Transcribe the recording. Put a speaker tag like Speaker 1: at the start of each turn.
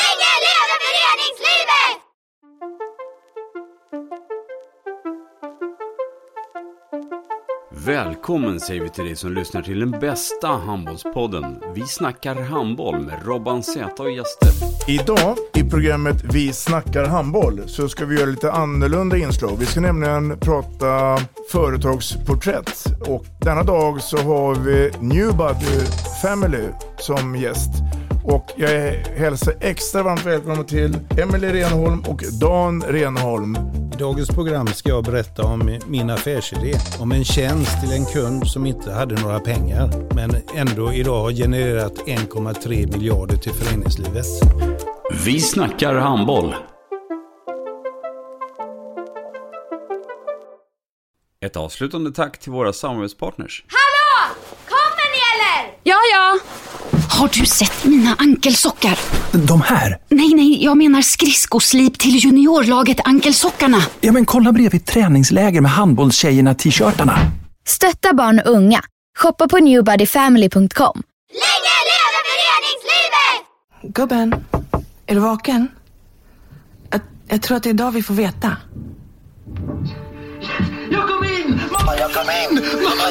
Speaker 1: Länge leve föreningslivet!
Speaker 2: Välkommen säger vi till dig som lyssnar till den bästa handbollspodden. Vi snackar handboll med Robban Z och gäster.
Speaker 3: Idag i programmet Vi snackar handboll så ska vi göra lite annorlunda inslag. Vi ska nämligen prata företagsporträtt och denna dag så har vi Newbody Family som gäst. Och jag hälsar extra varmt välkomna till Emelie Renholm och Dan Renholm.
Speaker 4: I dagens program ska jag berätta om min affärsidé. Om en tjänst till en kund som inte hade några pengar men ändå idag har genererat 1,3 miljarder till föreningslivet.
Speaker 2: Vi snackar handboll. Ett avslutande tack till våra samarbetspartners.
Speaker 1: Hallå! Kommer ni eller?
Speaker 5: Ja, ja.
Speaker 6: Har du sett mina ankelsockar?
Speaker 7: De här?
Speaker 6: Nej, nej, jag menar skridskoslip till juniorlaget Ankelsockarna.
Speaker 7: Ja, men kolla bredvid träningsläger med handbollstjejerna-t-shirtarna.
Speaker 5: Stötta barn och unga. Shoppa på newbodyfamily.com.
Speaker 1: Länge leve föreningslivet!
Speaker 8: Gubben, är du vaken? Jag, jag tror att det är idag vi får veta.
Speaker 9: Jag kom in! Mamma, jag kom in! Mamma,